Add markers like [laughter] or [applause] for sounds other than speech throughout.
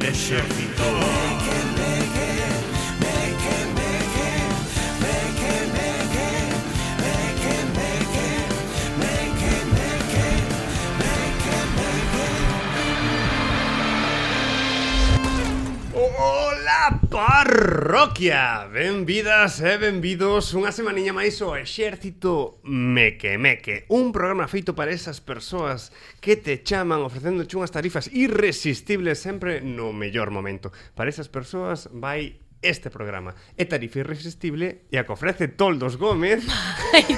ejército. Ola parroquia Benvidas e benvidos Unha semaniña máis ao Exército Meque Meque Un programa feito para esas persoas que te chaman ofrecendo unhas tarifas irresistibles sempre no mellor momento Para esas persoas vai este programa É tarifa irresistible e a que ofrece Toldos Gómez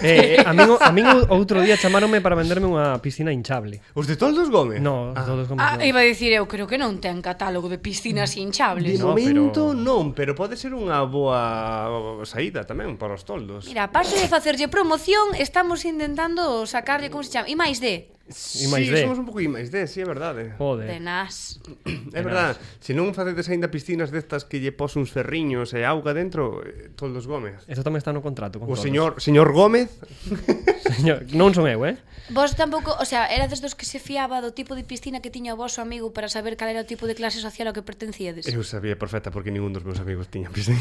Eh, a min, o- a min o- outro día chamáronme para venderme unha piscina hinchable. Os de Toldos Gómez? No, Ah. todos como Ah, no. iba a dicir eu, creo que non ten catálogo de piscinas De hinchables. No, momento pero- non, pero pode ser unha boa saída tamén para os toldos. Mira, aparte de facerlle promoción, estamos intentando sacarlle como se chama, e máis de Sí, máis D. somos un pouco máis D, sí, é verdade. Joder. de nas. É verdade. Se non facedes aínda piscinas destas que lle pos uns ferriños e auga dentro, eh, Toldos Gómez. Eso tamén está no contrato con O todos. señor, señor Gómez, Señor- Non son eu, eh? Vos tampouco, o sea, era dos que se fiaba do tipo de piscina que tiña o vosso amigo para saber cal era o tipo de clase social ao que pertencíades. eu sabía perfecta porque ningún dos meus amigos tiña [laughs] piscina.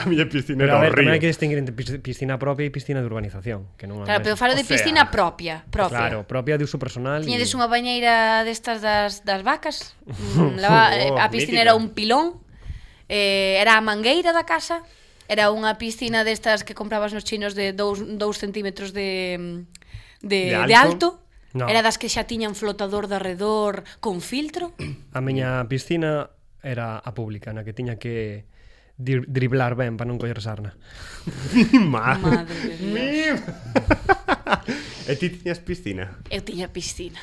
a miña piscina era Pero a ver, o río. tamén hai que distinguir entre pis- piscina propia e piscina de urbanización, que non é a Claro, pero mesma. falo O de sea, piscina propia, propia. Claro, propia de uso personal. Tiñedes e- unha bañeira destas das, das [laughs] vacas Mm, lava, Oh, oh, A piscina mítica. era un pilón eh, Era a mangueira da casa Era unha piscina destas que comprabas nos chinos De 2 centímetros de, de, De alto? de alto, de alto. No. No. Era das que xa tiñan flotador de arredor Con [laughs] filtro A miña piscina era a pública, na que tiña que dir- driblar ben para non coller sarna. Mi [laughs] madre. Madre de Dios. Mi... e ti tiñas piscina. Eu tiña piscina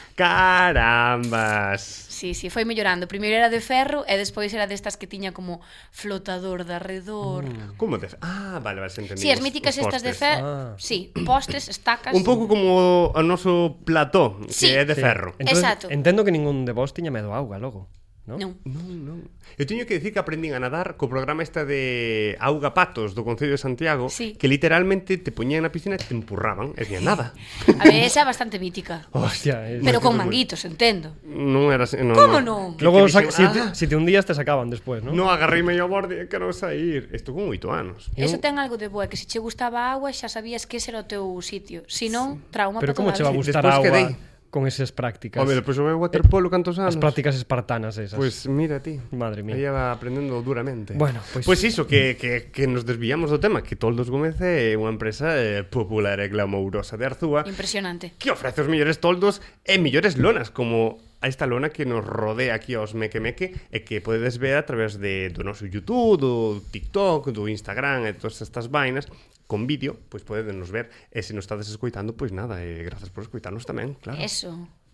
Carambas. Sí, sí, foi mellorando Primeiro era de ferro e despois era destas que tiña como flotador de arredor mm. Como de... Ah, vale, vale, se entendí. Sí, as míticas estas de ferro Ah. ah. Sí, postres, estacas Un pouco como o noso plató, que Sí. é de Sí. ferro. Entón, Exacto. Entendo que ningún de vos tiña medo a auga logo, non? Non [laughs] Non, non. Eu teño que dicir que aprendín a nadar co programa esta de Auga Patos do Concello de Santiago Sí. que literalmente te poñían na piscina e te empurraban e dicían nada. A ver, esa é bastante [laughs] mítica. Hostia, eh, Pero con Bueno, manguitos, entendo. Non era... así- Non, Como non? Que Logo, te sa- dixen, si, te, "Ah, si te hundías te sacaban despois, non? Non agarríme ao borde e quero sair. Isto con oito anos. Eu- Eso ten algo de boa, que se che gustaba a agua xa sabías que ese era o teu sitio. Se non, trauma Pero pa como toda che va a vida. gustar Despois a quedei. agua con esas prácticas? Home, depois xoguei waterpolo cantos anos. As prácticas espartanas esas. Pois mira ti. Madre mía. Ella va aprendendo duramente. Bueno, pois- Pois iso, que, que, que nos desviamos do tema, que Toldos Gómez é unha empresa eh, popular e glamourosa de Arzúa Impresionante. que ofrece os millores toldos e millores lonas, como a esta lona que nos rodea aquí aos Meque Meque e que podedes ver a través de, do noso YouTube, do TikTok, do Instagram e todas estas vainas con vídeo, pois podedes nos ver e se nos estades escoitando, pois nada, e grazas por escoitarnos tamén, Ah. claro. Eso.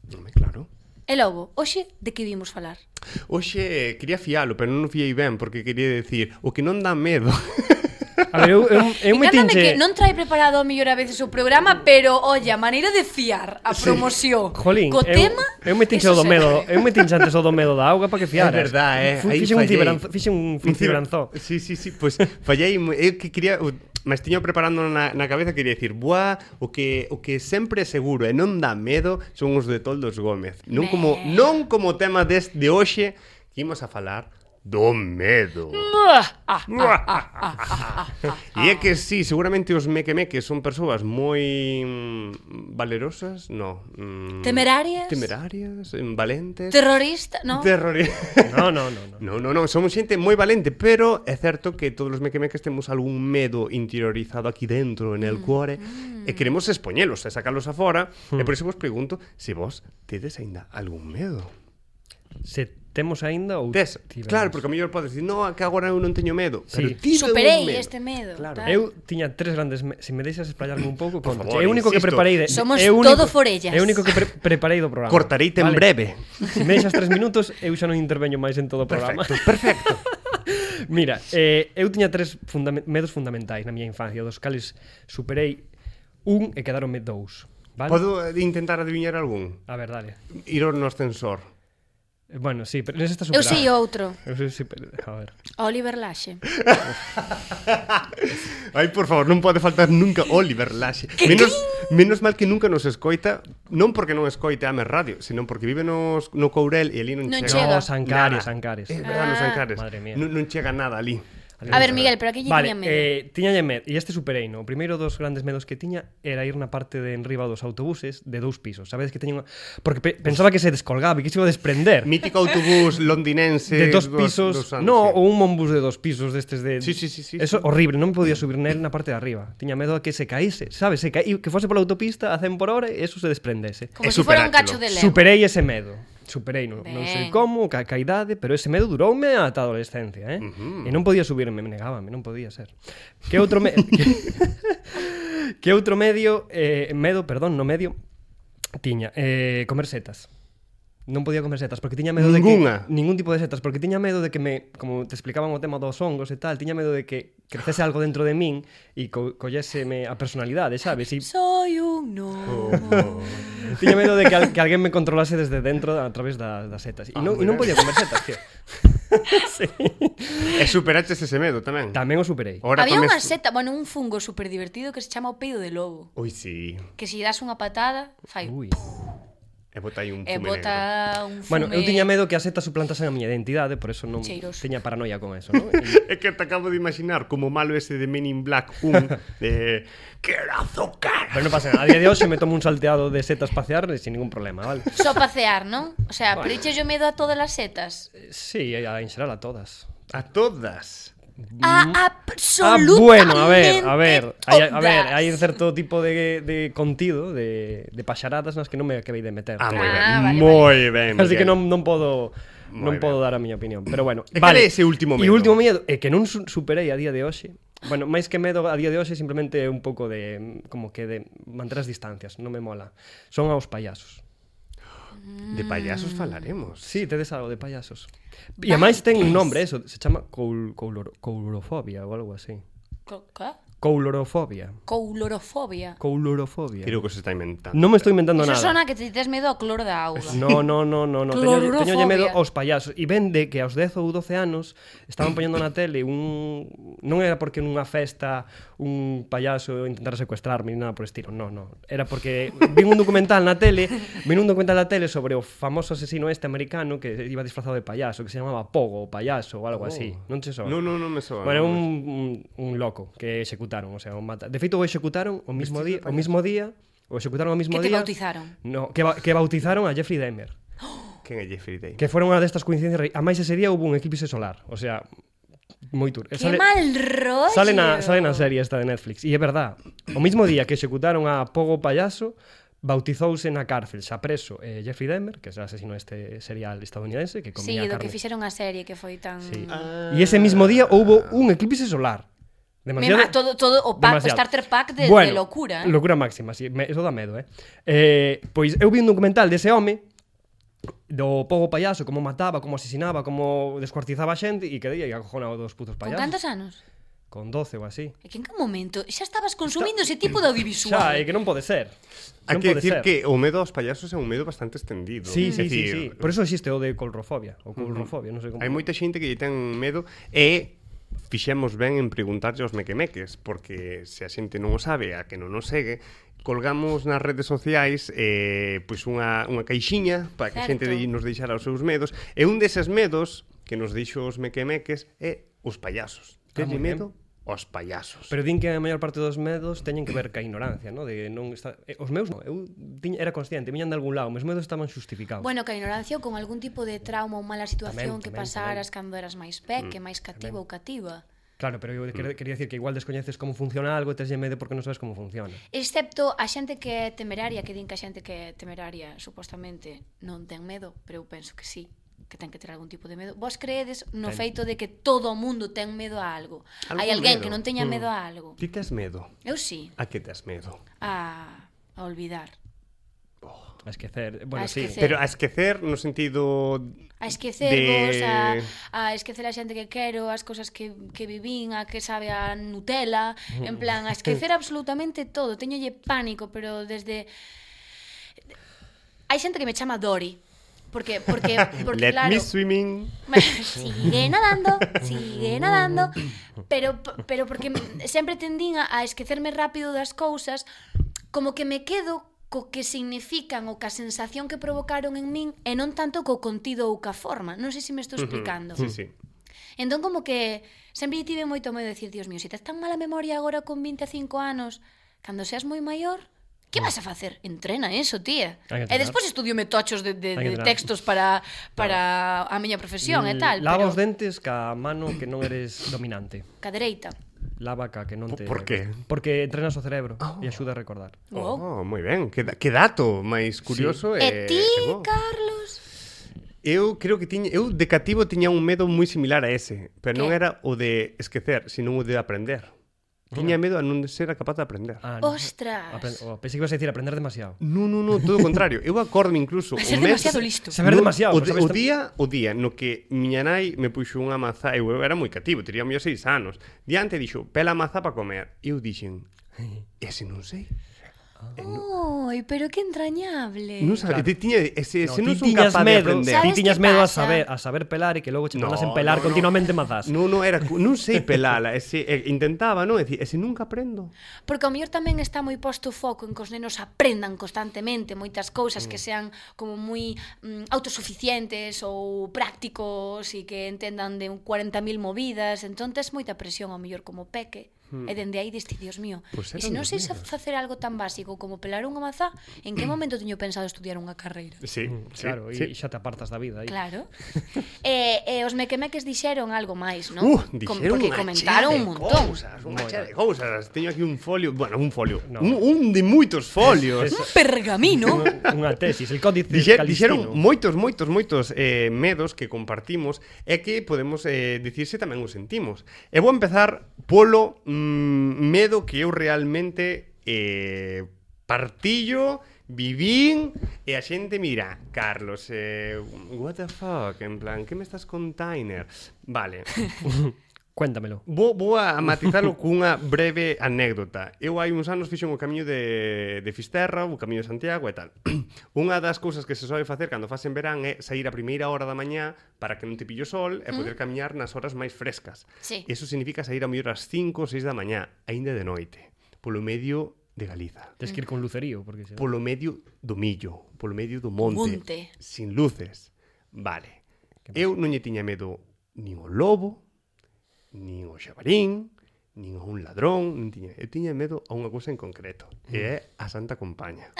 Home, claro. E logo, hoxe, de que vimos falar? Oxe, quería fialo, pero non o fiei ben porque quería decir o que non dá medo. [laughs] A ver, eu, eu, eu me Encántame tinche... que non trae preparado a mellor a veces o programa, pero, olla, a maneira de fiar a promoción Jolín, co eu, tema... eu me tinche eso o do se- medo, eu me tinche antes o do medo da auga para que fiaras. É verdad, eh, Fu- aí Fixe un fallei. ciberanzo, fixe un, un ciberanzó. Sí, sí, sí, pois pues, fallei, mo- eu que quería o- me estiño preparando na, na cabeza quería decir, "Buá, o que o que sempre é seguro e non dá medo son os de Toldos Gómez". Non como Me. non como tema des de hoxe que imos a falar do medo. Ah, E é que sí, seguramente os mequemeques son persoas moi mm, valerosas, no, mm, Temerarias? temerarias, mm, valentes, terrorista, non? [laughs] terroristas. No, no, no, no. No, no, no, somos xente moi valente, pero é certo que todos os mequemeques temos algún medo interiorizado aquí dentro, en Mm, el cuore, e queremos expoñelos e sacalos afora, e Mm. por iso vos pregunto se vos tedes aínda algún medo. Se temos aínda ou Tes, tivemos. claro, porque a mellor podes dicir, no, que agora eu non teño medo, pero Sí. ti tes un Superei medo. este medo. Claro. tal. Eu tiña tres grandes, me... se me deixas explayarme un pouco, Por conto. favor, é o único que insisto. preparei de... Somos é o único- todo forellas. É o único que pre preparei do programa. Cortareite en breve. Se me deixas tres minutos, eu xa non interveño máis en todo o programa. Perfecto, perfecto. [laughs] Mira, eh, eu tiña tres fundame medos fundamentais na miña infancia, dos cales superei un e quedaronme dous. Vale? Podo eh, intentar adivinar algún? A ver, dale. Ir ao no ascensor. Eh, Bueno, sí, pero ese está Eu superado. sei outro. [laughs] Eu sei, sí, pero, a ver. Oliver Laxe. Ai, por favor, non pode faltar nunca Oliver Laxe. Menos, menos mal que nunca nos escoita, non porque non escoite a Amer Radio, senón porque vive nos, no Courel e ali non, Non chega. chega. No, Nada. Sancares, Eh, Sancares. É verdade, nos Ah. Ancares. Madre mía. Non, non chega nada ali. A ver, Miguel, pero aquí lle vale, tiña medo. Eh, tiñalle medo, e este superei, no? O primeiro dos grandes medos que tiña era ir na parte de enriba dos autobuses de dous pisos. Sabedes que teñen unha... Porque pe pensaba que se descolgaba e que se iba a desprender. Mítico autobús londinense de dos pisos, dos anos, no, sí. ou un monbus de dos pisos destes de Sí, sí, sí, sí, sí. Eso horrible, non me podía subir nel na parte de arriba. Tiña medo a que se caíse, sabes, se caí, que fose pola autopista a 100 por hora e eso se desprendese. Como É se fora un superátelo. cacho de lego. Superei ese medo. Superei, non, non sei Ben. como, ca, ca idade, pero ese medo duroume ata a adolescencia, eh? Uh -huh. E non podía subirme, me negábame, non podía ser. Que outro me... [laughs] que, que outro medio, eh, medo, perdón, no medio, tiña eh, comer setas. Non podía comer setas porque tiña medo Ningunha. de que ningún tipo de setas porque tiña medo de que me, como te explicaban o tema dos hongos e tal, tiña medo de que crecese algo dentro de min e co colléseme a personalidade, sabes? E Soy un gnomo. Oh. Oh. Tiña medo de que, al, que alguén me controlase desde dentro a través da, das setas. E Ah, non, e mira. non podía comer setas, tío. sí. E superaches ese medo tamén. Tamén o superei. Ora Había comes- unha seta, bueno, un fungo super divertido que se chama o peido de lobo, Ui, sí. que se lle das unha patada, fai Ui. E bota aí un e fume negro. bota un fume. Bueno, eu tiña medo que as setas suplantasen a miña identidade, por eso non Cheiroso. teña paranoia con eso, non? [laughs] É que te acabo de imaginar como malo ese de Men in Black 1 de... Que era azúcar! Pero non pasa nada. A día de hoxe me tomo un salteado de setas pasear sin ningún problema, vale? Só pasear, non? O sea, bueno. pero yo medo a todas as setas. Eh, Sí, a en xeral a todas. A todas. A Mm. Ah, absolutamente bueno, a ver, a ver, hay, a ver, todas. hai un certo tipo de, de contido de, de paxaradas nas que non me acabei de meter. Ah, creo. moi ben. Ah, vale, moi ben, Así que Miguel. non non podo Moi non ben. podo dar a miña opinión, pero bueno, E cal vale. é ese último E medo? último medo é que non su- superei a día de hoxe. Bueno, máis que medo a día de hoxe simplemente é un pouco de mm, como que de manter as distancias, non me mola. Son aos payasos. De payasos falaremos. Sí, tedes algo de payasos. E ademais ten un nombre eso, se chama coul, couloro, coulorofobia ou algo así. Co- ca? Coulorofobia. Coulorofobia. Coulorofobia. Creo que se está inventando. Non me estou inventando Eso nada. sona que te tes medo ao cloro da auga. No, no, no, no, no. Teño, Clorofobia. teñolle medo aos payasos E vende que aos 10 ou 12 anos Estaban poñendo na tele un... Non era porque nunha festa Un payaso intentara secuestrarme Ni nada por estilo, no, no Era porque vi un documental na tele Vi un documental na tele sobre o famoso asesino este americano Que iba disfrazado de payaso Que se chamaba Pogo, o payaso, ou algo así Non che soa? Non, non, non me soa. Bueno, non un, me un, un loco que executaron, o sea, un mata. De feito o executaron o mismo día, o mismo día, o executaron o mismo Que te día. bautizaron. No, que, ba que bautizaron a Jeffrey Dahmer. soa. Quen é Jeffrey Day? Que foron unha destas coincidencias, re- amais ese día houve un eclipse solar, o sea, moi tur. Que mal rollo. Sale na, sale na serie esta de Netflix E é verdad O mismo día que executaron a Pogo Payaso Bautizouse na cárcel xa preso eh, Jeffrey Dahmer Que é o asesino este serial estadounidense Que Sí, comía carne do que fixeron a serie que foi tan... Sí. Ah. Y ese mismo día hubo un eclipse solar. Me Demasiado. ma... todo, todo o pack, o demasiado. starter pack de, Bueno, de locura. Eh? Locura máxima, sí, me, eso dá medo, eh. eh pois eu vi un documental dese home do pogo payaso, como mataba, como asesinaba, como descuartizaba a xente e quedei aí acojonado dos putos Con payasos. cantos anos? Con 12 ou así. E que en que momento xa estabas consumindo ese tipo [clears throat] de audiovisual. Xa, é que non pode ser. Hai non que pode decir ser. que o medo aos payasos é un medo bastante extendido. Sí, sí, Es sí, decir, sí. Por eso existe o de colrofobia, o colrofobia, non sei como. Hai moita xente que lle ten medo e fixemos ben en preguntarlle aos mequemeques, porque se a xente non o sabe, a que non o segue, colgamos nas redes sociais eh, pois unha, unha caixinha para que a xente Certo. de, nos deixara os seus medos. E un deses medos que nos deixou os mequemeques é os payasos. Ah, Telle moi ben. medo aos payasos. Pero din que a maior parte dos medos teñen que ver ca ignorancia, no? De non está... eh, os meus non, eu tiña, era consciente, viñan de algún lado, meus medos estaban xustificados. Bueno, que a ignorancia ou con algún tipo de trauma ou mala Tamén, situación que tamén, pasaras cando eras máis Mm, peque, máis cativo ou cativa. Claro, pero eu Mm. quer, quería decir que igual descoñeces como funciona algo e teslle medo porque non sabes como funciona. Excepto a xente que é temeraria, que din que a xente que é temeraria supostamente non ten medo, pero eu penso que sí que ten que ter algún tipo de medo. Vos creedes no Ten. feito de que todo o mundo ten medo a algo. Algún Hai alguén medo. que non teña Mm. medo a algo. Ti tes medo? Eu sí, A que tes medo? a, a olvidar. A esquecer, bueno, A sí. esquecer. Pero a esquecer no sentido... A esquecervos, De- a, a esquecer a xente que quero, as cosas que, que vivín, a que sabe a Nutella, en plan, a [laughs] esquecer absolutamente todo. Teñolle pánico, pero desde... Hai xente que me chama Dori, Porque, porque, porque Let claro, me swimming. sigue nadando, sigue nadando, pero pero porque sempre tendín a, a esquecerme rápido das cousas, como que me quedo co que significan ou ca sensación que provocaron en min e non tanto co contido ou ca forma. Non sei se me estou explicando. Sí, sí. Entón como que sempre tive moito medo de decir, Dios mío, se tes tan mala memoria agora con 25 anos, cando seas moi maior, que vas a facer? Entrena eso, tía. Mm. Hai que E entrenar. despois estudiome tochos de, de, Hai que de entrenar. textos para, para a miña profesión Mm, e tal. Lava pero... os dentes ca mano que non eres [coughs] dominante. Ca dereita. Lava ca que non te... Por Oh. que? Porque entrenas o cerebro e axuda a recordar. Wow. Oh, moi ben, que, da- que dato máis curioso E e, ti, e bo. Carlos? Eu creo que tiña, eu de cativo tiña un medo moi similar a ese, pero non Que? era o de esquecer, sino o de aprender. Ah. Tiña medo a non ser capaz de aprender. Ah, non. Ostras. Apre- oh, pensei que ibas a decir aprender demasiado. Non, non, non, todo o contrario. Eu acordome [laughs] incluso Ser o mes demasiado listo. Saber No, demasiado. O, pero de, sabes o tam- día, o día no que miña nai me puxo unha mazá, eu era moi cativo, tería mellor seis anos. Diante dixo, pela a mazá para comer. E eu dixen, ese non sei. Oi, pero que entrañable. Non sabe, claro. tiña ese, ese ti non son tiñas capaz de medo, aprender. Ti ¿Sabes tiñas qué medo a pasa? saber, a saber pelar e que logo che No, tornas en pelar no, no. continuamente mazás. Non, non era, cu- non sei pelala, ese eh, intentaba, non, e dicía, ese nunca aprendo. Porque ao mellor tamén está moi posto o foco en que os nenos aprendan constantemente moitas cousas Mm. que sean como moi mm, autosuficientes ou prácticos e que entendan de un 40.000 movidas, entón tes moita presión ao mellor como peque. E dende aí diste, Dios mío, Mm. Pois eran e se non os sei sa- medos. facer algo tan básico como pelar unha mazá, en que momento teño pensado estudiar unha carreira? Mm. Sí, Claro, sí, e sí. xa te apartas da vida aí. Claro. e, e os mequemeques dixeron algo máis, non? Uh, Com- dixeron Porque unha chea comentaron un de montón. Cousas, unha chea de cousas. Teño aquí un folio, bueno, un folio, No. un, un de moitos folios. Un pergamino. [laughs] Unha- Unha tesis, el códice Dixe, calistino. dixeron moitos, moitos, moitos eh, medos que compartimos e que podemos eh, dicir se tamén os sentimos. E vou empezar polo mm, medo que eu realmente eh, partillo, vivín e a xente me dirá Carlos, eh, what the fuck, en plan, que me estás container? Vale, Cuéntamelo. Vou, vou a matizalo cunha breve anécdota. Eu hai uns anos fixen o camiño de, de Fisterra, o camiño de Santiago e tal. [clears throat] Unha das cousas que se sobe facer cando fas en verán é sair a primeira hora da mañá para que non te pillo sol e poder camiñar nas horas máis frescas. Sí. Eso significa sair a mellor ás 5 ou 6 da mañá, aínda de noite, polo medio de Galiza. Tens que ir con lucerío, porque se... Polo medio do millo, polo medio do monte, Monte. sin luces. Vale. Eu non lle tiña medo nin o lobo, nin o xabarín, nin a un ladrón, nin tiña, eu tiña medo a unha cousa en concreto, e é a Santa Compaña.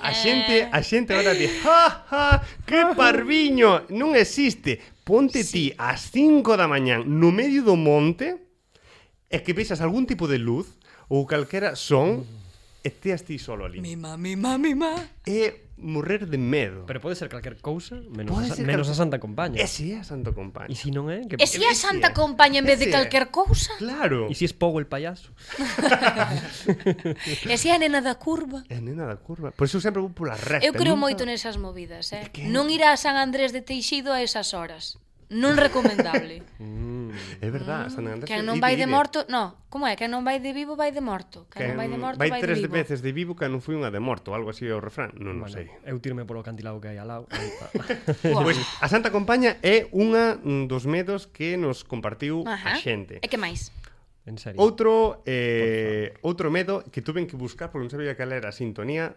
A xente, a xente ahora di, "Ja, ja, que parviño, non existe. Ponte ti ás 5 da mañán no medio do monte, e que vexas algún tipo de luz ou calquera son, e teas ti solo ali. Mima, mima, mima. É morrer de medo. Pero pode ser calquer cousa, menos, Pode a, ser menos calquer- a Santa Compaña. E si é a Santa Compaña. E si non é? Que... E si a Ese é. Santa Compaña en vez de Ese é. eh. [laughs] calquer cousa? Claro. E si es Pogo el payaso? E si a nena da curva? É a nena da curva. Por iso sempre vou pola recta. Eu creo nunca- moito nesas movidas, eh? que- Non ir a San Andrés de Teixido a esas horas. [laughs] Non recomendable. É verdad, San Andrés. que non ide, vai de ide. morto, no, como é? Que non vai de vivo, vai de morto. Que Que non vai de morto, vai vai de tres vivo. veces de vivo que non fui unha de morto, algo así é o refrán, non bueno. sei. eu tirme polo cantilado que hai al lado. [laughs] Buah. Pois a Santa Compaña é unha mm, dos medos que nos compartiu Ajá. a xente. E que máis? en serio. Outro eh, outro medo que tuven que buscar porque non sabía cal era a sintonía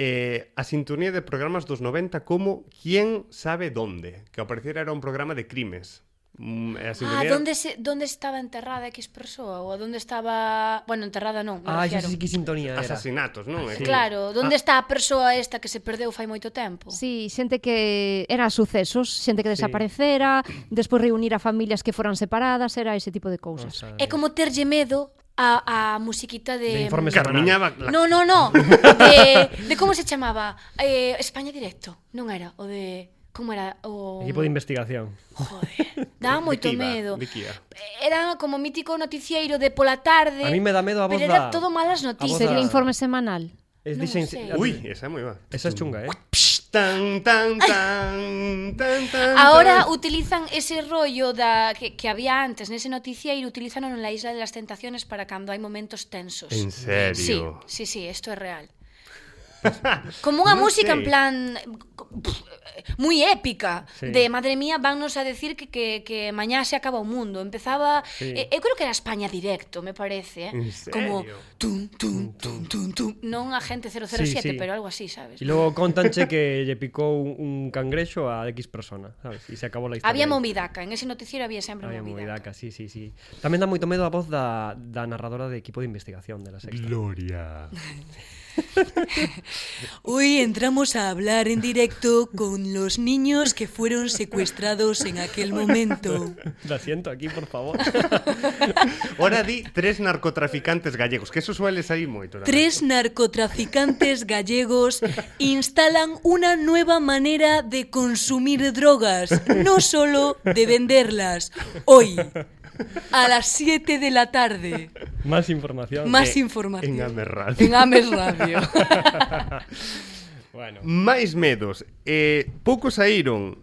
eh, a sintonía de programas dos 90 como Quién sabe dónde que ao parecer era un programa de crimes mm, e a Ah, sintonía era- donde, se, donde estaba enterrada X persoa? Ou a donde estaba... Bueno, enterrada non, me Ah, xa sei refiero. que sintonía era. asasinatos, non? É que- Claro, donde está a persoa esta que se perdeu fai moito tempo? Sí, xente que era sucesos, xente que desaparecera, despois reunir a familias que foran separadas, era ese tipo de cousas. Outra vez. É como terlle medo a, a musiquita De de... informe Carmiñaba la... No, [laughs] no, no. De, de como se chamaba? Eh, España Directo. Non era o de... Como era? O... Equipo de investigación. Joder, [laughs] daba moito Kiva, medo. de Kia. Era como mítico noticieiro de pola tarde. A mí me dá medo a voz Pero da- era todo malas a voz noticias. Sería da- informe semanal. Es Non dicen- sei. Ui, esa é moi va. Esa es chunga, eh? Tan tan tan tan tan. Ahora tan. utilizan ese rollo da que, que había antes nese noticieiro, utilizan en la Isla de las Tentaciones para cando hai momentos tensos. En serio. Sí, sí, sí, esto es real. Como unha Non música en sei. plan moi épica Sí. sí. de madre mía, vannos a decir que que que mañá se acaba o mundo. Empezaba Sí. sí. eh, eu creo que era España directo, me parece, eh. En serio? Como tum tum tum tum tum, non a gente 007, Sí, sí. pero algo así, E sabes? logo contanche [laughs] que lle picou un, un cangrexo a X persona, sabes? E se acabou a historia. Había aí. movidaca, en ese noticiero había sempre Había movidaca. movidaca, sí, sí, sí. Tamén dá moito medo a voz da, da narradora de equipo de investigación de la sexta. Gloria. Hoy entramos a hablar en directo con los niños que fueron secuestrados en aquel momento. La siento aquí, por [laughs] favor. Ora di tres narcotraficantes gallegos, que eso suele salir moito. na Tres narcotraficantes gallegos instalan una nueva manera de consumir drogas, no solo de venderlas. Hoy, a las 7 de la tarde. Más información. Más Eh, información. En Amerral. En Ames Radio. Bueno. Máis medos. Eh, pouco saíron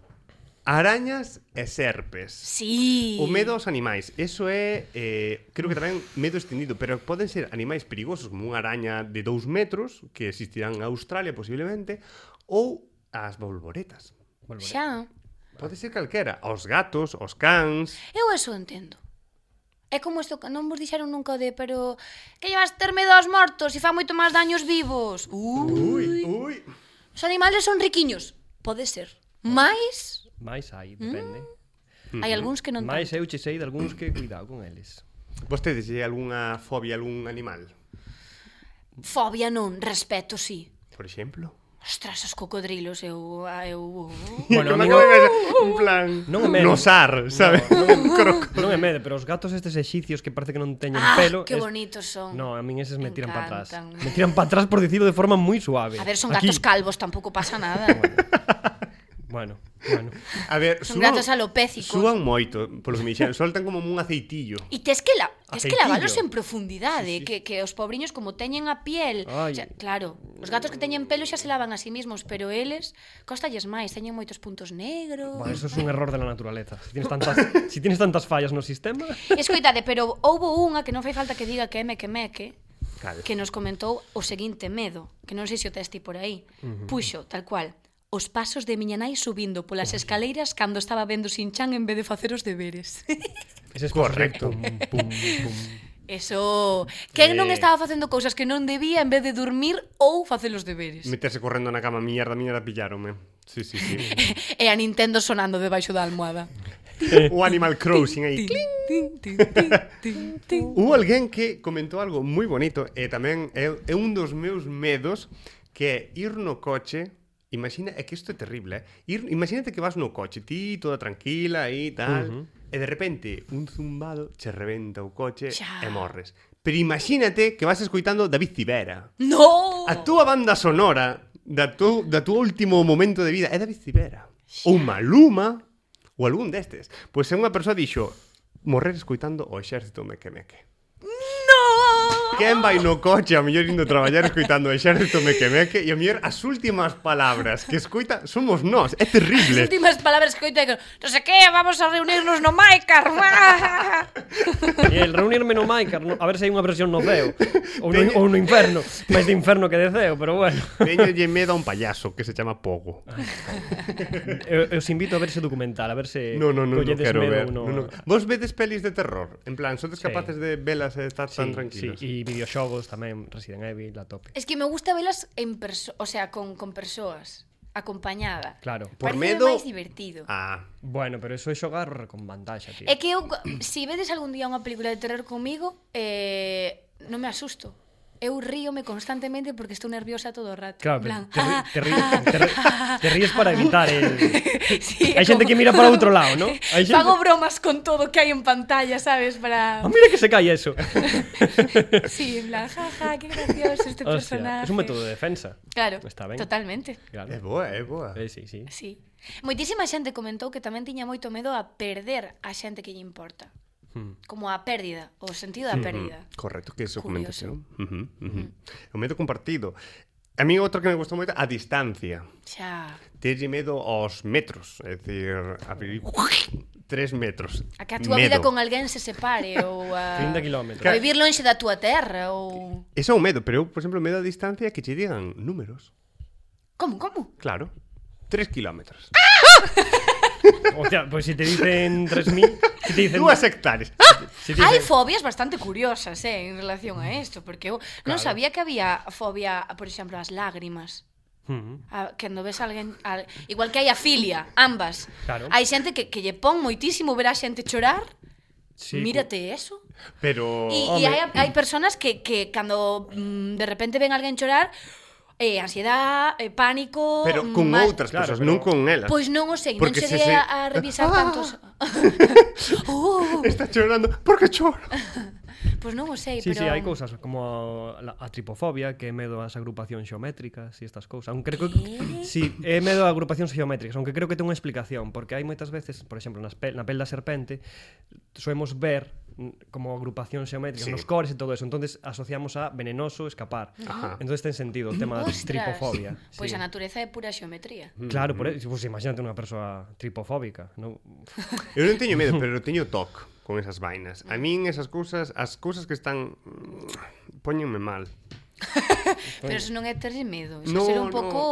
arañas e serpes. Sí. O medo aos animais, eso é, eh, creo que tamén medo extendido, pero poden ser animais perigosos, como unha araña de 2 metros, que existirán en Australia posiblemente, ou as bolboretas. Xa. Pode ser calquera, aos gatos, aos cans... Eu eso entendo. É como isto que non vos dixeron nunca o de, pero que llevas ter medo aos mortos e fa moito máis daños vivos. Uh, Ui, ui... os animales son riquiños. Pode ser. Mais Mais hai, depende. hai algúns que Mm, non Mais eu tanto. che sei de algúns que cuidado con eles. Vostedes, hai algunha fobia, algún animal? Fobia non, respeto sí. Por exemplo? Ostras, os cocodrilos, eu... ah, eu Bueno, [laughs] Que a me mí acabo non- de pensar, en plan... Non é medo. No sar, sabe? Non é medo, pero os gatos estes exicios que parece que non teñen Ah, pelo... que es- bonitos son. No, a min eses me tiran para atrás. Encantan. Me tiran para atrás por dicirlo de forma moi suave. A ver, son Aquí. gatos calvos, tampouco pasa nada. Bueno, bueno. A ver, Son gatos alopécicos. Suban moito, polo que me dixeron, soltan como un aceitillo. E tes que, la, tes que Aceitillo. lavalos en profundidade, sí, sí. que, que os pobriños como teñen a piel, Ai. xa, claro, os gatos que teñen pelo xa se lavan a sí mismos, pero eles costalles máis, teñen moitos puntos negros. Bueno, eso es un error de la naturaleza. Si tienes tantas, si tienes tantas fallas no sistema... Escoitade, pero houbo unha que non fai falta que diga que é meque meque, Cal. que nos comentou o seguinte medo, que non sei se o testi por aí. Puxo, tal cual, os pasos de miña nai subindo polas escaleiras cando estaba vendo sin chan en vez de facer os deberes. Ese es correcto. Correcto. Eso, quen Eh. non estaba facendo cousas que non debía en vez de dormir ou facer os deberes. Meterse correndo na cama, mierda, mierda, pilláronme. Sí, sí, sí. e a Nintendo sonando debaixo da almohada. o Animal Crossing aí. Tin, tin, tin, tin, tin. Hubo alguén que comentou algo moi bonito e tamén é, é un dos meus medos que é ir no coche Imagina, é que isto é terrible, eh? Ir, imagínate que vas no coche, ti, toda tranquila aí, tal, uh -huh. e de repente un zumbado che reventa o coche Xa. e morres. Pero imagínate que vas escoitando David Civera. No! A túa banda sonora da tu, da tu último momento de vida é David Civera. Ou Maluma, ou algún destes. Pois se unha persoa dixo morrer escoitando o exército meque meque. No! Quen vai no coche a mellor indo traballar escoitando o exército meque meque e a mellor as últimas palabras que escoita somos nós. É As [laughs] terrible. últimas palabras que oito é que non sei que, vamos a reunirnos no Maicar. [laughs] E el reunirme no Maicar, no, a ver se hai unha versión no ceo. Ou no, ou no inferno. Máis de inferno que de ceo, pero bueno. Teño lle medo a un payaso que se chama Pogo. Eu, eu Eh, os invito a ver ese documental, a ver se No, no, no, no colledes quero medo ver. ou No, no. Vos vedes pelis de terror? En plan, sodes Sí. capaces de velas e estar Sí, tan tranquilos? sí, e videoxogos tamén, Resident Evil, la tope. es que me gusta velas en perso o sea, con, con persoas, acompañada. Claro. Por Pareceme medo- máis divertido. Ah, Bueno, pero eso é xogar con vantaxe, tío. É que eu, co- si vedes algún día unha película de terror comigo, eh, non me asusto. Eu ríome constantemente porque estou nerviosa todo o rato. Claro, En pero plan, te, ri- ah, te, ri- [laughs] te, ri- ah. te ríes para evitar el... [laughs] Sí, é Hai xente como- que mira para outro lado, ¿no? Hai xente... Fago bromas con todo que hai en pantalla, sabes, para... Ah, mira que se cae [laughs] eso. Este Sí, en plan, jaja, ja, qué gracioso este Hostia, personaje. es un método de defensa. Claro, Está ben. totalmente. Claro. é boa, é boa. Eh, sí, sí. Sí. Moitísima xente comentou que tamén tiña moito medo a perder a xente que lle importa. Hmm. Como a pérdida, o sentido da pérdida. Mm. Correcto, que eso Curioso. Mm. comentación. Uh -huh, uh -huh. O medo compartido. A mí outra que me gustou moito a distancia. Xa, Telle medo aos metros, é dicir, abrir tres metros. a que a túa vida con alguén se separe ou a 30 kilómetros. A vivir lonxe da túa terra ou Ese é un medo, pero eu, por exemplo, medo a distancia é que che digan números. Como, como? Claro. 3 kilómetros. Ah, O sea, pues si te dicen 3.000, si te dicen... Dúas hectáreas. Ah. si te Hai dicen- fobias bastante curiosas, eh, en relación a isto, porque eu non Claro. sabía que había fobia, por exemplo, ás lágrimas. Ujú. A, cando ves alguén al, igual que hai a filia, ambas. Claro. Hai xente que, que lle pon moitísimo ver a xente chorar. Sí, Mírate eso. Pero... E home, e hai hai persoas que que cando mm, de repente ven alguén chorar, eh ansiedad, eh, pánico, pero mm, con mal- outras Claro, persoas, pero- non con elas. Pois non o sei, Porque se non se- cheguei Ah, a, a revisar [laughs] [laughs] tantos. uh, Está chorando. Por que choro? pois non o sei, Sí, pero sí, hai cousas como a, la- a tripofobia, que é medo ás agrupacións xeométricas e estas cousas. Aunque creo que sí, é medo a agrupacións xeométricas, aunque creo que ten unha explicación, porque hai moitas veces, por exemplo, nas pel, na pel da serpente, soemos ver mm, como agrupacións xeométricas Sí. nos cores e todo eso, entonces asociamos a venenoso escapar. Ajá. Entonces ten sentido o tema da Ostras. tripofobia. Pois a natureza é pura xeometría. Mm. Claro, por eso, pues, imagínate unha persoa tripofóbica, non? Eu non teño [laughs] medo, pero teño toc con esas vainas. A min esas cousas, as cousas que están mm, póñenme mal. Pero eso non é ter medo, iso no, Oh, ser un pouco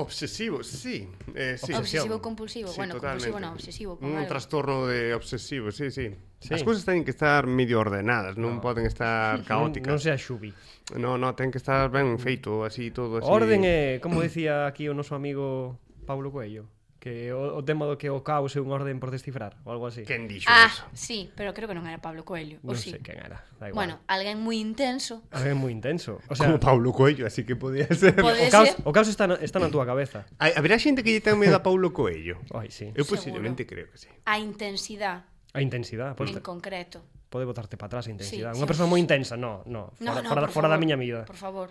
no. obsesivo, sí, eh, sí. Obsesivo compulsivo. Sí, Bueno, totalmente. compulsivo non, obsesivo, con Un algo. trastorno de obsesivo, sí, sí. Sí. As cousas teñen que estar medio ordenadas, non no. poden [laughs] estar caóticas. Non, non sea xubi. No, no, ten que estar ben feito, así todo así. Orden é, como dicía aquí o noso amigo Pablo Coello, que o, o tema do que o caos é un orden por descifrar, ou algo así. Quen dixo ah. Ah, eso? sí, pero creo que non era Pablo Coelho, non o sí. sei quen era, da igual. Bueno, alguén moi intenso. [laughs] A ver, é moi intenso. O O sea, sea, Como Paulo Coelho, así que podía [laughs] ser. Pode- o Puede caos, ser. o caos está na, está na túa cabeza. Hai- Haberá xente que lle ten medo a Paulo Coelho. Ai, sí. Eu posiblemente creo que sí. A intensidad A intensidade, pois, en concreto. pode botarse para atrás a intensidade. Sí, Unha sí. persoa moi intensa, no, no, fora, No, no, fora, por fora da favor, miña vida. Por favor.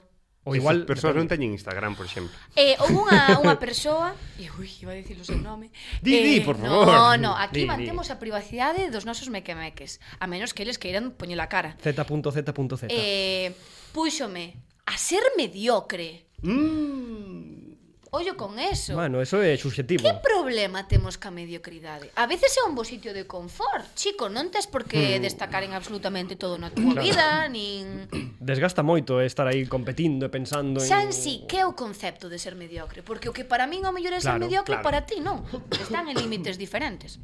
Ou igual Esas persoas non depende. teñen Instagram, por exemplo. Eh, houve unha, [laughs] unha persoa e, Ui, iba a dicir o seu nome Di, eh, di, por favor. No, no, aquí Di, di. mantemos a privacidade dos nosos mequemeques A menos que eles queiran poñer a cara Z.Z.Z. eh, Púxome a ser mediocre Mm. Ollo con eso Bueno, eso é subxectivo. Que problema temos ca mediocridade? A veces é un bo sitio de confort, chico, non tes por que Hmm. destacar en absolutamente todo na túa vida, nin... Desgasta moito eh, estar aí competindo e pensando en... San si, que é o concepto de ser mediocre? Porque o que para min o mellor é ser Claro, mediocre, claro. para ti non. Están en límites diferentes.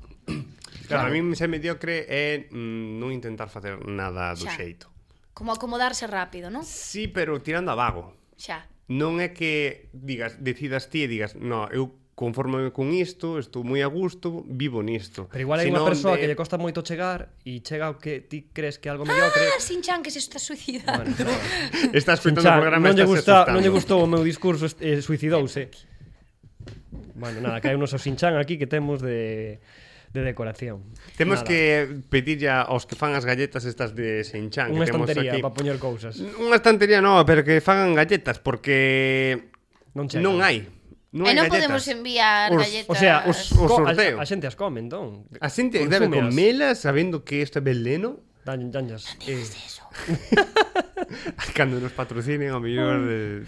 Claro, a mí ser mediocre é mm, non intentar facer nada do Xa. xeito. Como acomodarse rápido, non? Sí, pero tirando a vago. Xa. Non é que digas, decidas ti e digas, no, eu conforme con isto, estou moi a gusto, vivo nisto. eh, Pero igual hai unha Senón persoa de- que lle costa moito chegar e chega o que ti crees que é algo mediocre. Ah, sin chan que se está suicidando. [laughs] Bueno, Está escoitando o Chan, programa non lle estás gusta, asustando. non lle gustou o meu discurso, est- eh, suicidouse. Bueno, nada, cae unos Sinchan aquí que temos de de decoración. Temos Nada, que pedir ya aos que fan as galletas estas de Senchan unha que temos aquí. estantería para poñer cousas. Unha estantería nova, pero que fagan galletas porque Non chegan. non hai. Non e hai non galletas. podemos enviar Os- galletas... O sea, os, O co- sorteo. A, a xente as come, entón. A xente debe Consúmeas. comelas sabendo que isto é veleno Dan, danllas. Eh, [laughs] cando nos patrocinen ao mellor eh...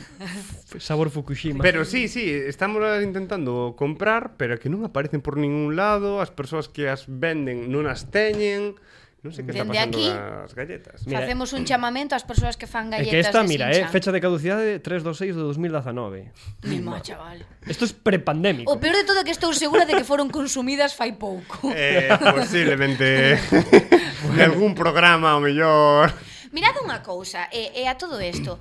sabor Fukushima. Pero sí, sí, estamos intentando comprar Pero que non aparecen por ningún lado As persoas que as venden non as teñen Non sei que está Dende pasando aquí. nas galletas Mira, Facemos un chamamento ás persoas que fan É galletas que esta, de mira, eh, Shin-chan. fecha de caducidade 3 do 6 do 2019. Mima, chaval. Isto é prepandémico. O peor de todo é que estou segura de que foron consumidas fai pouco. Eh, posiblemente algún programa o mellor [laughs] Mirad unha cousa, e, e a todo isto,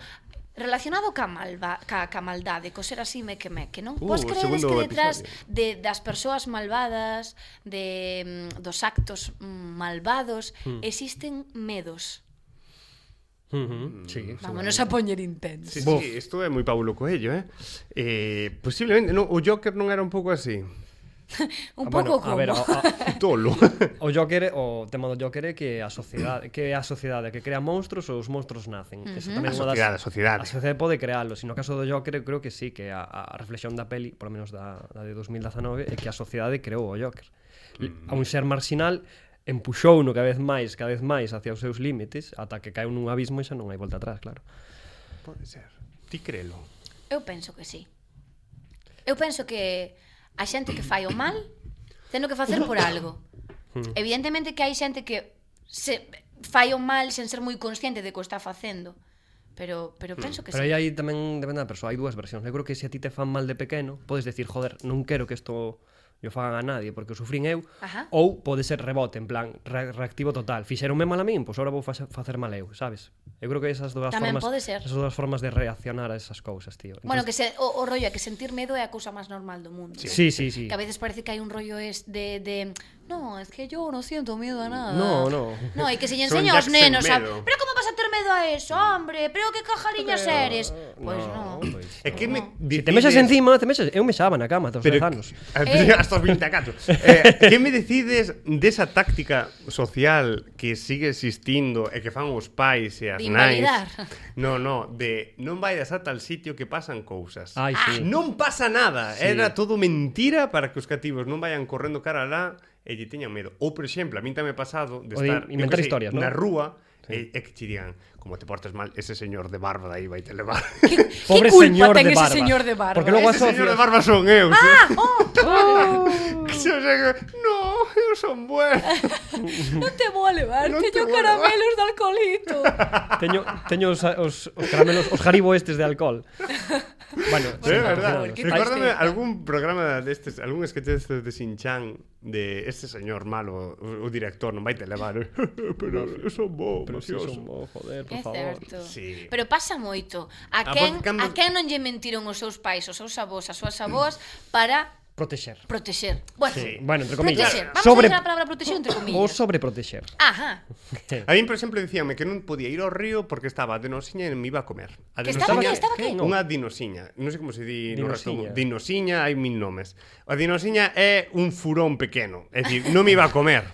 relacionado ca, malva, ca, ca maldade, co ser así me que me, que non? Uh, Vos o credes segundo que detrás episodio. de, das persoas malvadas, de, mm, dos actos mm, malvados, Hmm. existen medos. Ujú, Sí, Vámonos a poñer intenso. Sí, Bof. sí, isto é moi Paulo Coello, eh? eh posiblemente, no, o Joker non era un pouco así. Un Ah, bueno, pouco como. A ver, o, a- Tolo. o Joker, o tema do Joker é que a sociedade, que é a sociedade que crea monstruos ou os monstruos nacen. Uh -huh. Eso tamén A é unha sociedade, a das- sociedade. A sociedade pode creálo, sino caso do Joker eu creo que sí, que a, a reflexión da peli, por lo menos da, da de 2019, é que a sociedade creou o Joker. Mm. A un ser marxinal empuxou no cada vez máis, cada vez máis hacia os seus límites, ata que caeu nun abismo e xa non hai volta atrás, claro. Pode ser. Ti crelo. Eu penso que sí. Eu penso que a xente que fai o mal teno que facer por algo. Hmm. Evidentemente que hai xente que se fai o mal sen ser moi consciente de que o está facendo. pero pero penso que Hmm. Pero aí sí. hai tamén depende da persoa, hai dúas versións. Eu creo que se a ti te fan mal de pequeno, podes decir, joder, non quero que isto yo fagan a nadie porque o sufrín eu Ajá. ou pode ser rebote en plan re reactivo total fixeronme mal a min pois agora vou fase- facer mal eu sabes eu creo que esas dúas Tamén formas pode ser. esas dúas formas de reaccionar a esas cousas tío Bueno, que se, o, o rollo é que sentir medo é a cousa máis normal do mundo. sí sí sí Que a veces parece que hay un rollo es de, de no, es que yo no siento miedo a nada. No, no. No, y [laughs] que se lle Son enseña aos Jackson nenos, a, medo. pero como vas a ter medo a eso, hombre? Pero que cajariñas eres? Pois no. pois. É que me Si te mexas decides- encima, te mexas. Eu mexaba na cama, aos 10 anos. [laughs] Eh. Hasta os [laughs] 24. Eh, que me decides desa táctica social que sigue existindo e que fan os pais e as De nais? invalidar. No, no, de non vaidas a tal sitio que pasan cousas. Ah. Ai, sí. Non pasa nada, Sí. sí. era todo mentira para que os cativos non vayan correndo cara lá e lle teñan medo. Ou, por exemplo, a min tamén é pasado de O de estar eu inventar que sei, historias, non? na rúa sí. e, e que te digan, como te portas mal, ese señor de barba de aí vai te levar. Pobre culpa señor ten de ese barba. señor de barba? Porque logo ese señor de asocias. barba son eu. Ah, [laughs] Oh, Que se os haga, no, eu son bueno. Non te vou a levar, Non te teño vou a levar. caramelos de alcoholito. Teño, teño os, os, os caramelos, os jaribo estes de [laughs] alcohol. Bueno, Sí, é verdad. favor, que Recórdame tristeza. algún programa destes, algún sketch destes de Sin Chan de este señor malo, o, o director, non vai te levar. eh? [laughs] pero eu son bo, Pero si mafioso. son bo, joder, por É favor. certo. Sí. Ah, Pero pasa moito. A A quen, voz cambia- a quen non lle mentiron os seus pais, os seus avós, as súas avós para Protexer. protexer. Bueno, Mm. Sí. Bueno, entre comillas. Protexer. Vamos Sobre- a usar a palabra protexer entre Ou comillas. [laughs] sobreprotexer. Ajá. A mí, por exemplo, dicíame que non podía ir ao río porque estaba a denosinha e me iba a comer. A Que estaba denosinha- que, estaba que. que? Unha dinosinha, non sei como se di no resto do Dinosiña. mundo. Dinosiña, hai mil nomes. A dinosiña é un furón pequeno, é dicir, non me iba a comer.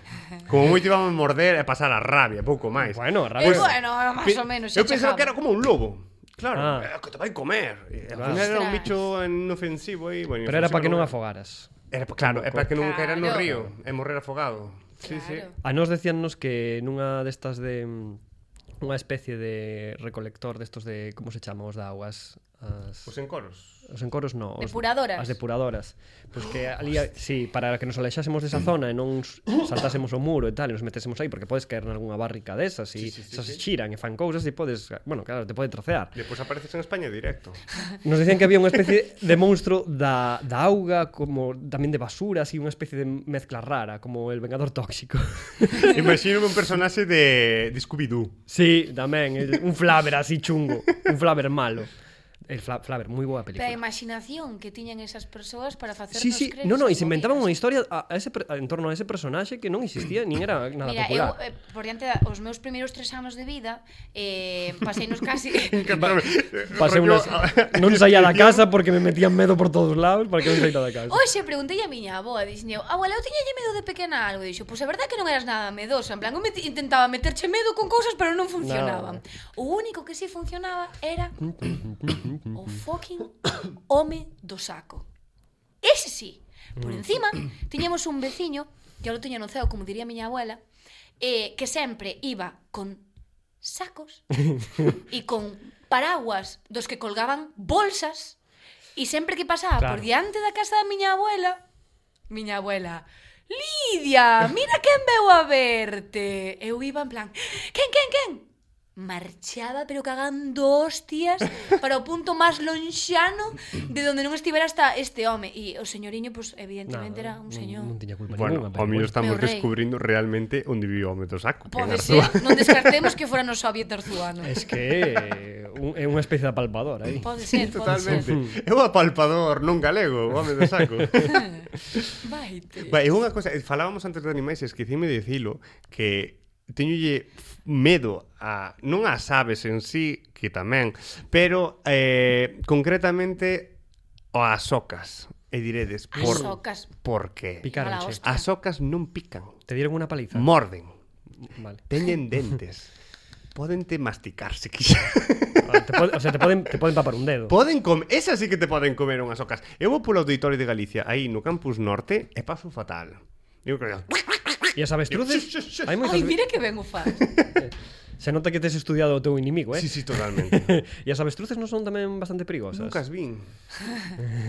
Como moito iba a morder e pasar a rabia, pouco máis. [laughs] Bueno, a rabia. Eh, bueno, Pe- máis ou menos. Eu xa pensaba que era chegaba. como un lobo. Claro, Ah. eh, que te vai comer. E, Al Claro. final era un Ostras. bicho inofensivo e, bueno, Pero era para que non inofensivo afogaras. Era pa- claro, é para que non caera no Claro. río e morrer afogado. Sí, sí. Claro. A nos decíannos que nunha destas de mm, unha especie de recolector destos de como se chama os da augas as Os encoros. Os encoros no. Os, Depuradoras. As depuradoras. Pois que ali, sí, para que nos alexásemos Mm. desa zona e non s- saltásemos o muro e tal, e nos metésemos aí, porque podes caer nalgúna barrica desas Sí, e sí, sí, esas sí. xiran e fan cousas e podes, bueno, claro, te pode tracear. Depois apareces en España directo. Nos decían que había unha especie de monstro da, da auga, como tamén de basura, así unha especie de mezcla rara, como el vengador [laughs] tóxico. Imagínome un personaxe de, de Scooby-Doo. sí, tamén, el- un flaver así chungo, un flaver malo. El fla, flaver, moi boa película. Da imaginación que tiñan esas persoas para facernos Sí, sí, crer no, no, e se esas inventaban unha movidas. historia a, a ese, per- a- en torno a ese personaxe que non existía nin era nada Mira, eu, popular. eh, por diante da- os meus primeiros tres anos de vida, eh, [laughs] pasei nos casi... Encantame. Pasei Rollo- ah, unas... [laughs] non saía da casa porque me metían medo por todos lados para que non saía da casa. Oxe, preguntei a miña avoa, dixen eu, abuela, eu tiñalle medo de pequena a algo, dixo, pois a verdad é que non eras nada medosa, en plan, eu meti- intentaba meterche medo con cousas, pero non funcionaban. No. O único que si sí funcionaba era o fucking home do saco. Ese sí. Por encima, tiñemos un veciño, que lo tiña no ceo, como diría miña abuela, eh, que sempre iba con sacos [laughs] e con paraguas dos que colgaban bolsas e sempre que pasaba claro. por Claro. diante da casa da miña abuela, miña abuela, Lidia, mira quen veu a verte. Eu iba en plan, quen, quen, quen? Marchaba pero cagando [laughs] hostias para o punto máis lonxano de donde non estivera hasta este home. E o señoriño, pues, evidentemente, era un señor. Non, non tiña culpa Bueno, ninguna, ao mellor estamos Meu rei. descubrindo realmente onde vive o home do saco. que en Pode ser, Arzúa. non descartemos que fora no soviet arzuano. Es que é un- é unha especie de palpador aí. Pode ser, pode ser. [laughs] Totalmente. É un apalpador non galego, o home do [laughs] saco. Vaite. Ba, é unha cosa, eh, falábamos antes de animais, esquecime de dicilo que teñolle f- medo a non as aves en sí, que tamén, pero eh, concretamente as ocas. E diredes, As por, ocas. por que? Picaron, Mala che. hostia. As ocas non pican, Te dieron unha paliza. morden, Vale. [laughs] teñen dentes. Podente masticar [laughs] se quixer. Vale, Te pode, o sea, te poden, te poden papar un dedo. Poden comer, esas sí que te poden comer unhas ocas. Eu vou polo auditorio de Galicia, aí no campus norte, e paso fatal. Eu creo, E as avestruces... Hai moitas... Ai, mira que ben o faz. Se nota que tes estudiado o teu inimigo, eh? sí, [laughs] sí, totalmente. E as avestruces non son tamén bastante [laughs] perigosas. Nunca as vin.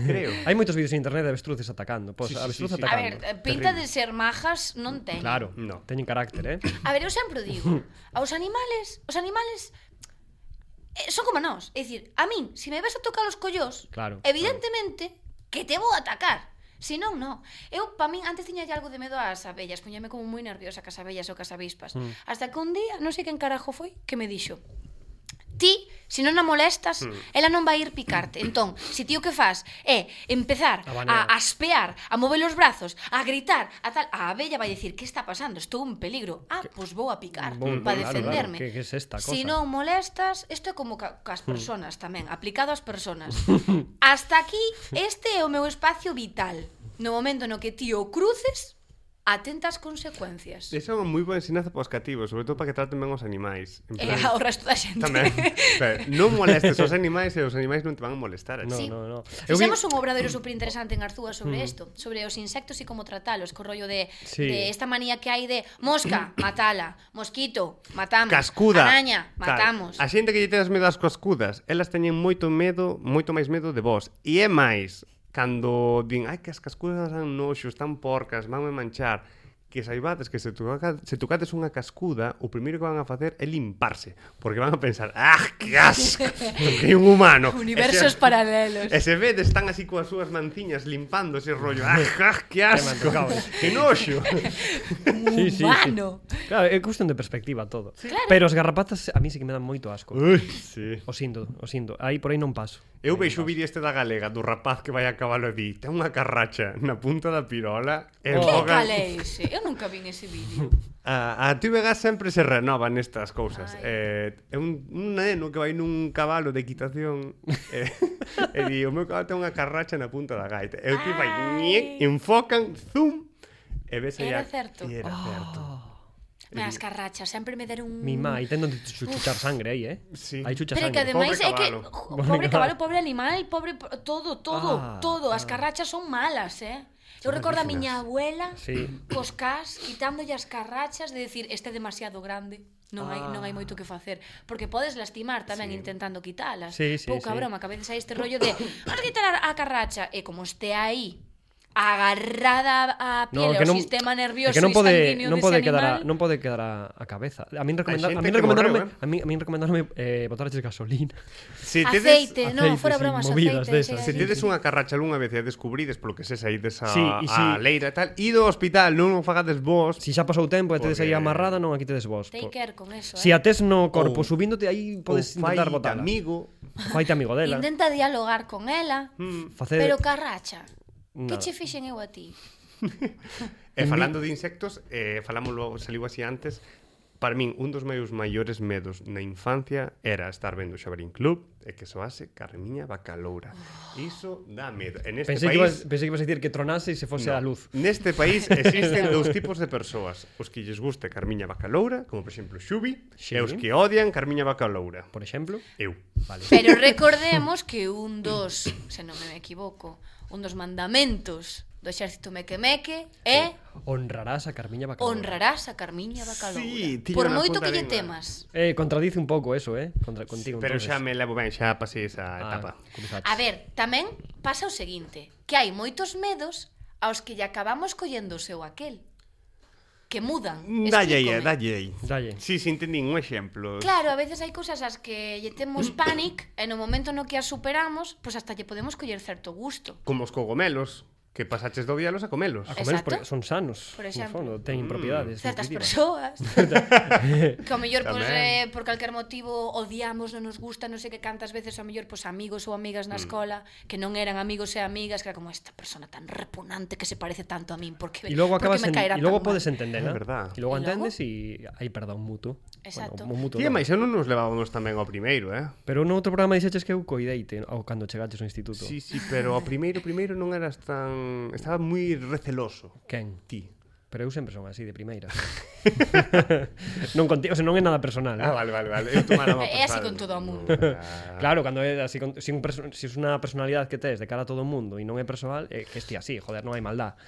Creo. Hai moitos vídeos en internet de avestruces atacando. Pois, Sí, sí, avestruz sí, sí. A atacando. ver, eh, pinta de ser majas non ten. Claro, No. teñen carácter, eh? [laughs] A ver, eu sempre o digo, aos animales, os animales eh, son como nós. É dicir, a min, se me ves a tocar os collós, Claro, evidentemente que te vou atacar. Si non, non. Eu, pa min, antes tiña algo de medo ás abellas. Puñame como moi nerviosa cas abellas ou cas avispas. Mm. Hasta que un día, non sei quen carajo foi, que me dixo ti, se non a molestas, Hmm. mm. ela non vai ir picarte. Entón, se ti o que faz é empezar Abanear. a, a aspear, a mover os brazos, a gritar, a tal, a abella vai dicir, que está pasando? Estou en peligro. Ah, pois vou a picar Vou- claro, para claro, defenderme. que- que es esta cosa? Hmm. Si non molestas, isto é como ca, cas personas tamén, aplicado ás personas. [laughs] Hasta aquí, este é o meu espacio vital. No momento no que ti o cruces, atentas consecuencias. Esa é unha moi boa ensinanza para os cativos, sobre todo para que traten ben os animais. En E plan, ao resto da xente. tamén. O sea, non molestes os animais e os animais non te van a molestar. No, No. Sí. no, no. Eu vi- Mm. Fixemos un obradoiro superinteresante en Arzúa sobre isto, sobre os insectos e como tratalos, co rollo de, Sí. de esta manía que hai de [coughs] mosca, matala, mosquito, Mm. matamos, Cascuda. araña, Tal. matamos. A xente que lle tenes medo ás cascudas, elas teñen moito medo, moito máis medo de vos. E é máis, cando din, ai, que as cascudas dan noxo, están porcas, vanme manchar, que saibades que se, toca, se tocades unha cascuda, o primeiro que van a facer é limparse, porque van a pensar, ah, que asco, [laughs] toquei un humano. Universos E se- paralelos. E se vedes están así coas súas manciñas limpando ese rollo. Ah, ah, que asco. que noxo. [laughs] Sí, sí, sí. Humano. Claro, é cuestión de perspectiva todo. Claro. Pero as garrapatas a mí sí que me dan moito asco. Ui, sí. O sindo, o sindo. Aí por aí non paso. Eu veixo o vídeo este da galega do rapaz que vai a cabalo e di ten unha carracha na punta da pirola e Oh. Que boga... cal é ese? Eu nunca vin ese [laughs] vídeo. A, a TVG sempre se renova nestas cousas. Eh, é un, un neno que vai nun cabalo de equitación eh, e [laughs] di, o meu cabalo ten unha carracha na punta da gaita. E o tipo vai, Ai. ñec, enfocan, zoom, e ves aí Era a- certo. E Oh. era certo. Me as carrachas, sempre me deron un... Mi má, aí tendo de chu- chuchar sangre aí, eh? Sí. Aí chucha Pero que sangre. ademais Pobre é que cabalo. jo, pobre cabalo, pobre animal, pobre po- todo, todo, Ah, todo, as carrachas son malas, eh? Eu recordo a miña abuela Sí. cos cas quitándolle as carrachas de decir, este é demasiado grande. Non hai Ah. non hai moito que facer, porque podes lastimar tamén sí. intentando quitalas. Sí, sí, Pouca sí. broma, que a veces hai este rollo de, vamos a quitar a, a carracha e como este aí agarrada a piel ao sistema nervioso é que non pode, e sanguíneo non dese pode animal. quedar a, non pode quedar a, a cabeza. A min recomendar, a xente min que recomendarme, morreu, eh. a min, a min recomendarme eh botarlle gasolina. Se tedes- Aceite, non, Aceite, fora sí, bromas, movidas aceite. desas, chega Se sí, de- tedes unha carracha algunha vez e a descubrides polo que se saídes a, Sí, a e si- leira e tal, ido ao hospital, non o fagades vos. [laughs] Si xa pasou tempo e tedes aí Porque- amarrada, non aquí tedes vos. Take care con eso, Si eh? a tes no corpo Ou- subíndote aí podes ou fai intentar botarla. amigo. Faite [laughs] amigo dela. Intenta dialogar con ela, Mm. Facer pero carracha. Que Nada. che fixen eu a ti? E falando de insectos, eh, falámoslo, saliu así antes, para min un dos meus maiores medos na infancia era estar vendo o Xabarín Club e que soase Carmiña [gasps] Bacaloura. Iso dá medo. En este Pensei que, ibas, país... pensei que ibas a dicir que tronase e se fose no. a luz. Neste país [laughs] existen dous tipos de persoas Os que lles gusta Carmiña Bacaloura Como por exemplo Xubi Sí. E os que odian Carmiña Bacaloura Por exemplo, Eu vale. [laughs] Pero recordemos que un dos, se non me equivoco, un dos mandamentos do exército mequemeque é honrarás a Carmiña Bacalova. honrarás a Carmiña Bacaloura. Sí, tiña Por na moito punta que da lle lingua. temas. Eh, contradice un pouco eso, eh? Contra, contigo, Pero entonces. xa me levo ben, xa pasei esa etapa Ah, cruzaches. A ver, tamén pasa o seguinte, que hai moitos medos aos que lle acabamos collendo o seu aquel. Que mudan. Dalle aí, Explícome. eh, dalle aí Dalle. Si, sí, si, sí, entendín un exemplo Claro, a veces hai cousas as que [clears throat] lle temos panic e no momento no que as superamos, pois hasta lle podemos coller certo gusto. como os cogumelos, que pasaches do día a comelos. A comelos Exacto. porque son sanos, Por no exemplo. fondo, teñen Mm. propiedades. Certas nutritivas. [laughs] persoas que ao mellor pois, Tamén. eh, por calquer motivo odiamos, non nos gusta, non sei que cantas veces ao mellor pois amigos ou amigas Mm. na escola que non eran amigos e amigas, que era como esta persona tan repugnante que se parece tanto a min, porque E logo acabas porque me en, caerá e logo tan podes mal. entendela. É verdad. E logo E logo? entendes e hai perdón mutuo. Exacto. Bueno, un mutuo. Tía, non. mais eu non nos levábamos tamén ao primeiro, eh? Pero no outro programa dixeches que eu coideite ao cando chegaches ao instituto. Sí, sí, pero ao primeiro, primeiro non eras tan... Estaba moi receloso. Quen? Ti. Pero eu sempre son así de primeira. [laughs] non contigo, o sea, non é nada personal. Ah, vale, vale, vale. Eu tomara má por É así saco. con todo o mundo. Ah, Claro, cando é así, con- si, un perso- si es unha personalidade que tes de cara a todo o mundo e non é persoal, é que esti así, joder, non hai maldad.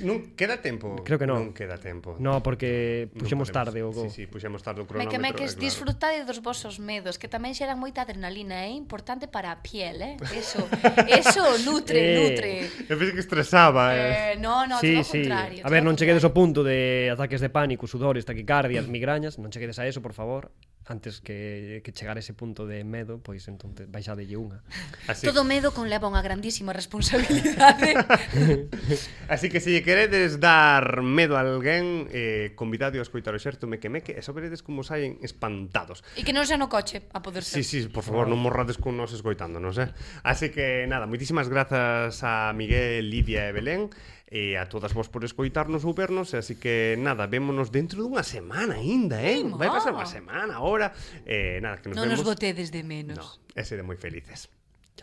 non queda tempo. Creo que Non non. queda tempo. No, porque Non puxemos podemos. tarde o go. Sí, sí, puxemos tarde o Me cronómetro. que me que eh, claro. disfrutade dos vosos medos, que tamén xeran moita adrenalina, é importante para a piel, eh? [laughs] Eso, eso nutre, Eh. nutre. Eu pensei que estresaba, eh. Eh, no, no, sí, todo o sí. contrario. A ver, todo non o cheguedes ao contrario. punto de ataques de pánico, sudores, taquicardias, migrañas, non cheguedes a eso, por favor. antes que, que chegar a ese punto de medo, pois entonces baixadelle unha. Así, Todo medo conleva unha grandísima [laughs] responsabilidade. así que se lle queredes dar medo a alguén, eh, convidade a escoitar o xerto Meque Meque e só veredes como saen espantados. [laughs] e que non sea no coche, a poder ser. Sí, sí, por favor, non morrades con nos escoitándonos, eh? Así que, nada, moitísimas grazas a Miguel, Lidia e Belén e a todas vos por escoitarnos ou vernos, e así que, nada, vémonos dentro dunha semana aínda, eh? Imos. Vai pasar unha semana ahora. Eh, nada, que nos Non vemos. nos botedes de menos. No, ese de moi felices.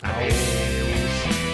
Adeus.